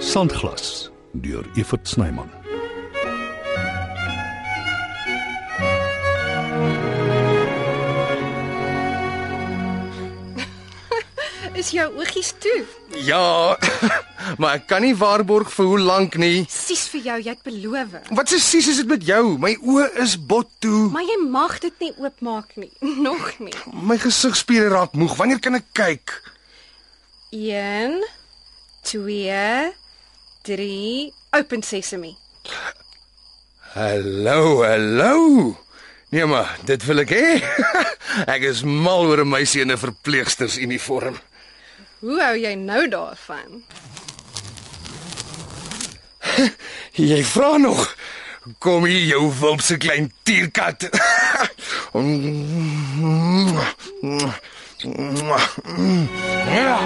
Sandglas deur Evert Snyman. Is jou oogies toe? Ja, maar ek kan nie waarborg vir hoe lank nie. Sies vir jou, jy het beloof. Wat se sies is dit met jou? My oë is bot toe. Maar jy mag dit nie oopmaak nie, nog nie. My gesigspiere raak moeg. Wanneer kan ek kyk? 1 2 3 Open sesame. Hallo, hallo. Nee maar, dit wil ek hê. ek is mal oor 'n meisie in 'n verpleegstersuniform. Hoe hou jy nou daarvan? Jy vra nog. Kom hier jou wilpse klein tierkat. Ja.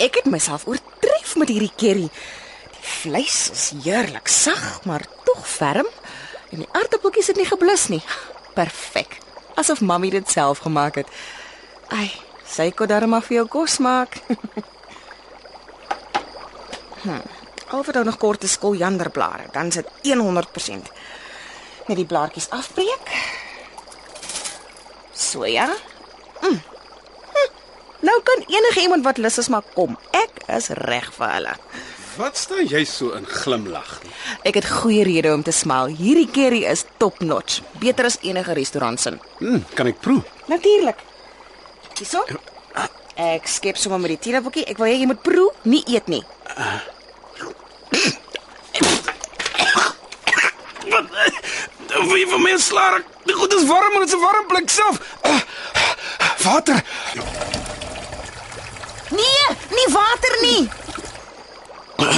Ek het myself oortref met hierdie curry. Die vleis is heerlik sag, maar tog ferm en die aardappeltjies het nie geblus nie. Perfek. Asof mammie dit self gemaak het. Ai, sy kon darm maar vir jou kos maak. hm. Alhoewel Hm, daar nog kort is skol janderblare, dan sit 100%. Net die blaartjies afbreek. So ja. Nou kan enige iemand wat lus is maar kom. Ek is reg vir hulle. Wat staan jy so in glimlag? Ek het goeie rede om te smil. Hierdie curry is top-notch, beter as enige restaurant se. Hm, kan ek proe? Natuurlik. Hierso. Ek skep sommer met die teelboekie. Ek wil hê jy moet proe, nie eet nie. Wat eh, wie van my slaar? Die goed is warm en dit is 'n warm plek self. Ah, Water. Nee, nie water nie,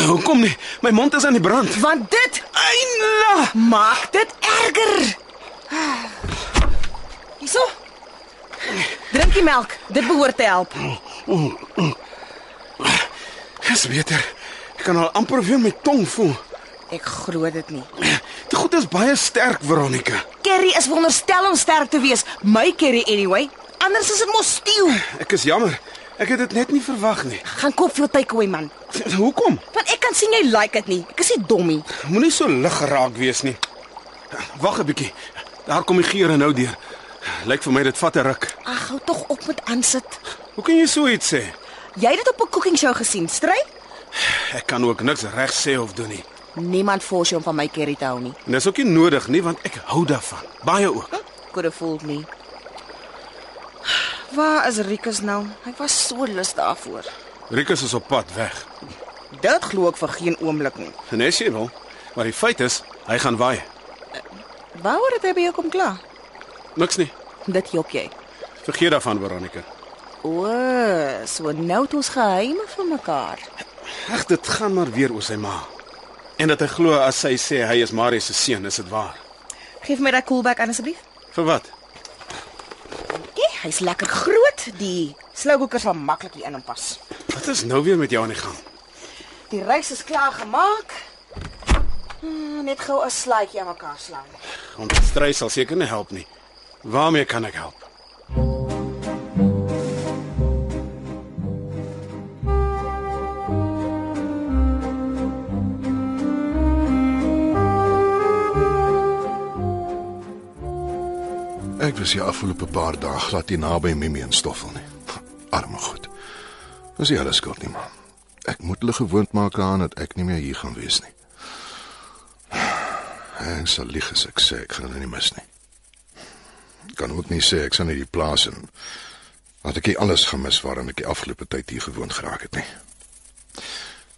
Hoekom nie? My mond is aan die brand. want dit Eina. maak dit erger. Hierso. Drink die melk. Dit behoort te help. Dis beter. Ek kan al amper weer my tong voel. Ek glo dit nie. Die goed is baie sterk, Veronica. Curry is wonderstel om sterk te wees. My curry anyway. Anders is dit mos stew. Ek is jammer. Ek het dit net nie verwag nie. Gaan koop veel takeaway man. Hoekom? Want ek kan sien jy like dit nie. Ek is nie dommie. Moenie so lig geraak wees nie. Wag 'n bietjie. Daar kom die geure nou deur. Lyk vir my dit vat 'n ruk. Ag, hou tog op met aansit. Hoe kan jy so iets sê? Jy het dit op 'n cooking show gesien, stry? Ek kan ook niks reg sê of doen nie. Niemand force jou om van my curry te hou nie. Hm? En dis ook nie nodig nie want ek hou daarvan. Baie ook. Could have fooled me. Waar is Rikus nou? Hy was so lus daarvoor. Rikus is op pad weg. Dit glo ek vir geen oomblik nie. En as jy wil, maar die feit is, hy gaan waai. Waaroor het hy by jou kom kla? Niks nie. Dit jok jy. Vergeet daarvan, Veronica. O, so nou het ons geheime van mekaar. Ag, dit gaan maar weer oor sy ma. En dat hy glo as sy sê hy is Marie se seun, is dit waar. Geef my daai koelbak aan asseblief. Vir wat? Okay, hy's lekker groot. Die slowcooker sal maklik hier in hom pas. Wat is nou weer met jou aan die gang? Die rys is klaar gemaak. Hmm, Net gou 'n slaaitjie aan mekaar slaan. Om te stry sal seker nie help nie. Waarmee kan ek help? Ek was hier afgelope paar dae glad nie naby Mimi en Stoffel nie. Arme goed. Dis nie hulle skuld nie, man. Ek moet hulle gewoond maak aan dat ek nie meer hier gaan wees nie. Ek sal lieg as ek sê ek gaan hulle nie mis nie. Ek Kan ook nie sê ek sal nie die plaas in dat ek nie alles gemis waaraan ek die afgelope tyd hier gewoond geraak het nie.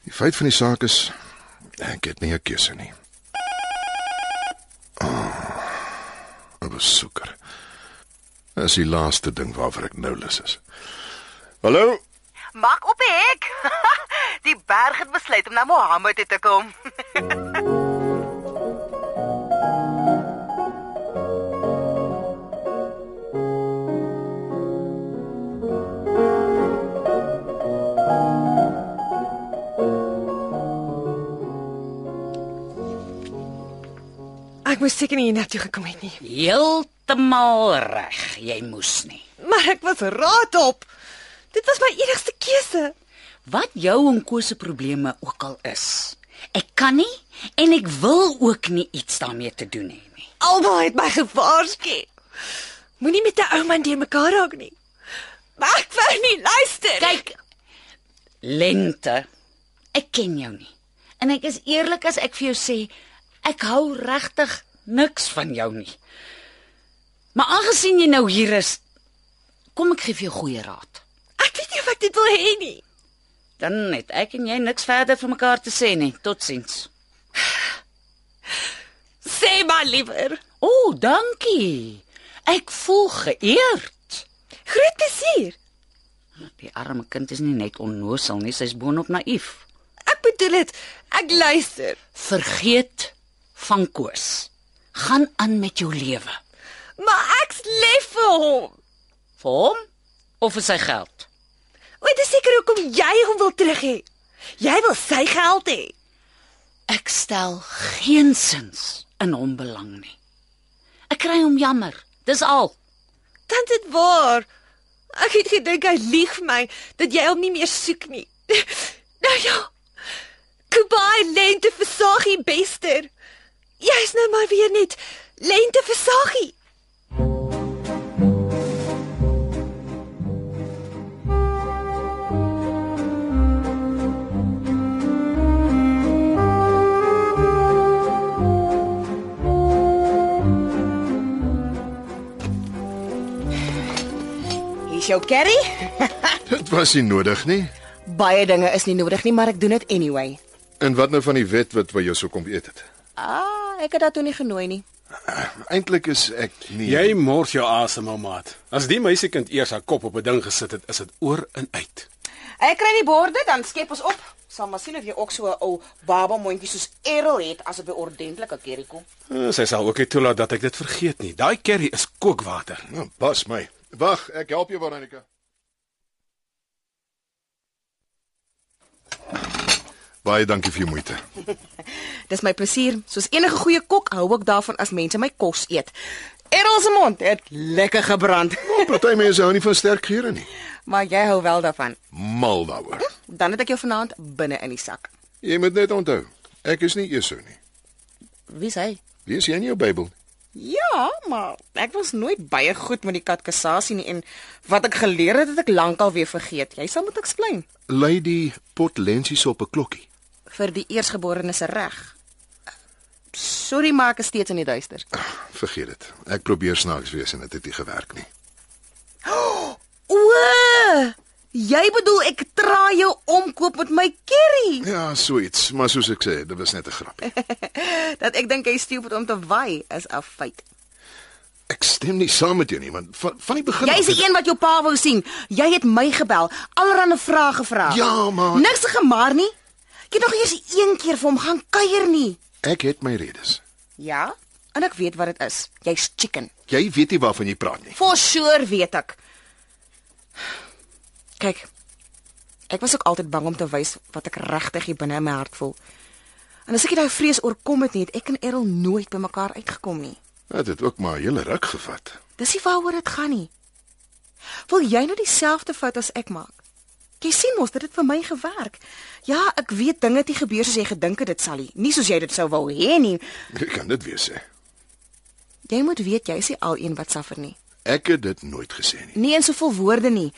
Die feit van die saak is ek het nie 'n keuse nie. Ah, 'n besoeker. Dis die laaste ding waarvoor ek nou lus is. Hallo? Maak op die hek. die berg het besluit om na Mohammed toe te kom. Sandglas ek moes seker nie hiernatoe gekom het nie. Heeltemal reg, jy moes nie. Maar ek was raad op. Dit was my enigste keuse. Wat jou en Koos se probleme ook al is. Ek kan nie en ek wil ook nie iets daarmee te doen hê nie. Almal het my gewaarsku. Moenie met 'n ou man deur mekaar raak nie. Maar ek wou nie luister. Kyk, lente. Ek ken jou nie. En ek is eerlik as ek vir jou sê, ek hou regtig niks van jou nie. Maar aangesien jy nou hier is, kom ek gee vir jou goeie raad. ek weet nie of ek dit wil hê nie. Dan net ek en jy niks verder vir mekaar te sê nie. Totsiens. Sê maar liewer. O, oh, dankie. Ek voel geëerd. Groot plesier. Die arme kind is nie net onnosel nie, sy's boonop naïef. Ek bedoel dit. Ek luister. Vergeet van koers. Gaan aan met jou lewe. Maar ek's lief vir hom. Vir hom of vir sy geld. Weet jy seker hoekom jy hom wil terug hê? Jy wil sy geld hê. Ek stel geensins in hom belang nie. Ek kry hom jammer. Dis al. Dan dit waar. Ek het gedink hy lieg vir my dat jy hom nie meer soek nie. Nou ja. Goodbye lente versagie bester. Jy's nou maar weer net lente versagie. Hier's jou curry. Dit was nie nodig nie. Baie dinge is nie nodig nie, maar ek doen dit anyway. En wat nou van die wet wat by jou sou kom eet het? Ah, ek het dit toe nie genooi nie. Eintlik is ek nie Jy mors jou asem, ou maat. As die meisiekind eers haar kop op 'n ding gesit het, is dit oor en uit. Ek kry die borde, dan skep ons op. Sal maar sien of jy ook so 'n ou baba mondjie soos Errol het as 'n ordentlike curry kom. Eh, Sy sal ook nie toelaat dat ek dit vergeet nie. Daai curry is kookwater. Nou, pas my. Wag, ek help jou Veronica. Baie dankie vir jou moeite. Dis my plesier. Soos enige goeie kok hou ek daarvan as mense my kos eet. Errol se mond het lekker gebrand, Party mense hou nie van sterk geure nie. maar jy hou wel daarvan. Mal daaroor. Dan het ek jou vanaand binne in die sak. Jy moet net onthou, ek is nie Esau nie. Wie's hy? Lees jy in jou Bybel? Ja, maar ek was nooit baie goed met die katkasasie nie en wat ek geleer het, het ek lankal weer vergeet. Jy sal moet eksplain. Lei die pot lensies op 'n klokkie. Vir die eersgeborene se reg. Sorry, maar ek is steeds in die duister. Vergeet dit. Ek probeer snaaks wees en dit het nie gewerk nie. O! Jy bedoel ek traai jou omkoop met my curry. Ja, so iets, maar soos ek sê, dit was net 'n grapie. Dat ek dink hy stupid om te wy is 'n feit. Ek stem nie saam met jou nie, want van, van die begin Jy's die een wat jou pa wou sien. Jy het my gebel, allerlei vrae gevra. Ja, maar- Niks gemaar nie. Ek het nog eers een keer vir hom gaan kuier nie. Ek het my redes. Ja? En ek weet wat dit is. Jy's chicken. Jy weet nie waarvan jy praat nie. For sure weet ek. Kyk. Ek was ook altyd bang om te wys wat ek regtig hier binne in my hart voel. En as ek nie daai vrees oorkom het nie, het ek en Errol nooit by mekaar uitgekom nie. Dit het ook maar 'n hele ruk gevat. Dis nie waaroor dit gaan nie. Wil jy nou dieselfde fout as ek maak? Jy sien mos dit het vir my gewerk. Ja, ek weet dinge het nie gebeur soos jy gedink het dit sal nie. Nie soos jy dit sou wou hê nie. Ek kan dit weer sê. Jy moet weet jy is nie al een wat suffer nie. Ek het dit nooit gesê nie. Nie in soveel woorde nie.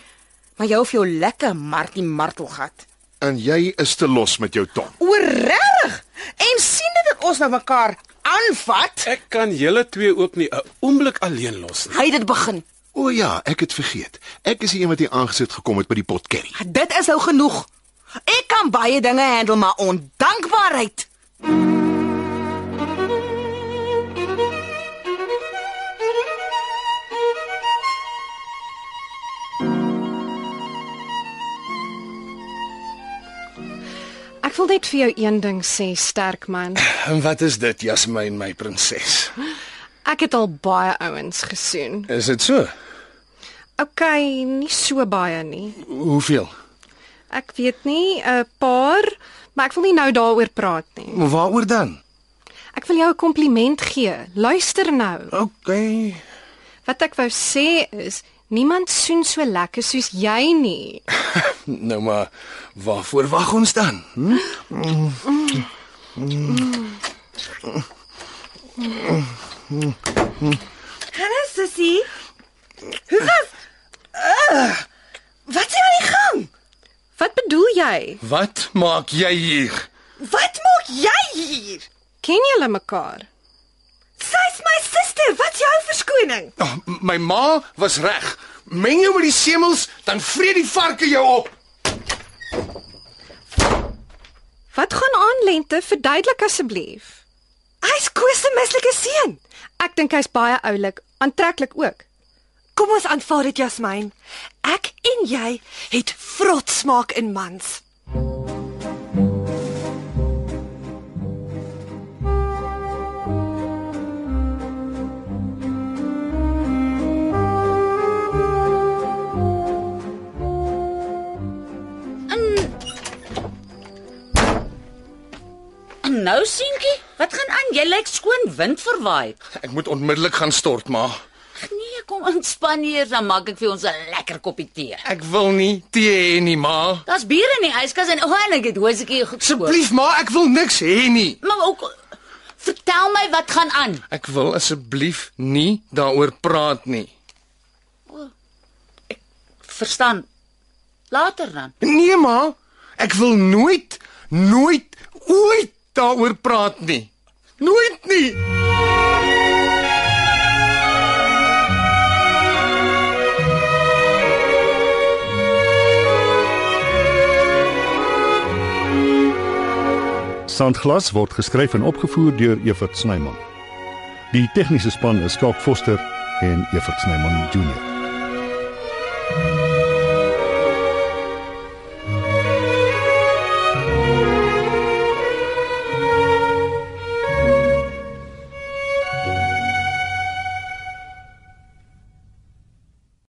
Maar jy hoef jou lekker Martie martelgat. En jy is te los met jou tong. O, regtig? En sien dit dat ons nou mekaar aanvat? Ek kan julle twee ook nie 'n oomblik alleen los nie. Hy het dit begin. O ja, ek het vergeet. Ek is die een wat hier aangesit gekom het by die pot curry. Dit is nou genoeg. Ek kan baie dinge handle, maar ondankbaarheid. Ek wil net vir jou een ding sê, sterk man. En wat is dit, Jasmine my prinses? Ek het al baie ouens gesoen. Is dit so? OK, nie so baie nie. Hoeveel? Ek weet nie, 'n paar, maar ek wil nie nou daaroor praat nie. Waaroor dan? Ek wil jou 'n kompliment gee. Luister nou. OK. Wat ek wou sê is, niemand soen so lekker soos jy nie. Nou maar, waarvoor wag ons dan? Hm? Hallo Susie. Hoe was? Uh, wat is aan die gang? Wat bedoel jy? Wat maak jy hier? Wat maak jy hier? Ken julle mekaar? Sy's my suster. Wat's jou verskoning? Oh, m- my ma was reg. Meng jou met die semels, dan vreet die varke jou op. Wat gaan aan lente? Verduidelik asseblief. Hy's Koos se mislike seun. Ek dink hy's baie oulik, aantreklik ook. Kom ons aanvaar dit, Jasmyn. Ek en jy het vrot smaak in mans. En nou seentjie, wat gaan aan? Jy lyk skoon wind verwaai. Ek moet onmiddellik gaan stort, ma. Ag nee, kom ontspan hier, dan maak ek vir ons 'n lekker koppie tee. Ek wil nie tee hê nie, ma. Daar's bier in die yskas en o, oh, en ek het hoesekie gekoop. Asseblief, ma, ek wil niks hê nie. Maar ook vertel my wat gaan aan. Ek wil asseblief nie daaroor praat nie. Verstaan? Later dan. Nee, ma. Ek wil nooit nooit ooit daaroor praat nie. Nooit nie. Sandglas word geskryf en opgevoer deur Evert Snyman. Die tegniese span is Skalk Foster en Evert Snyman Junior.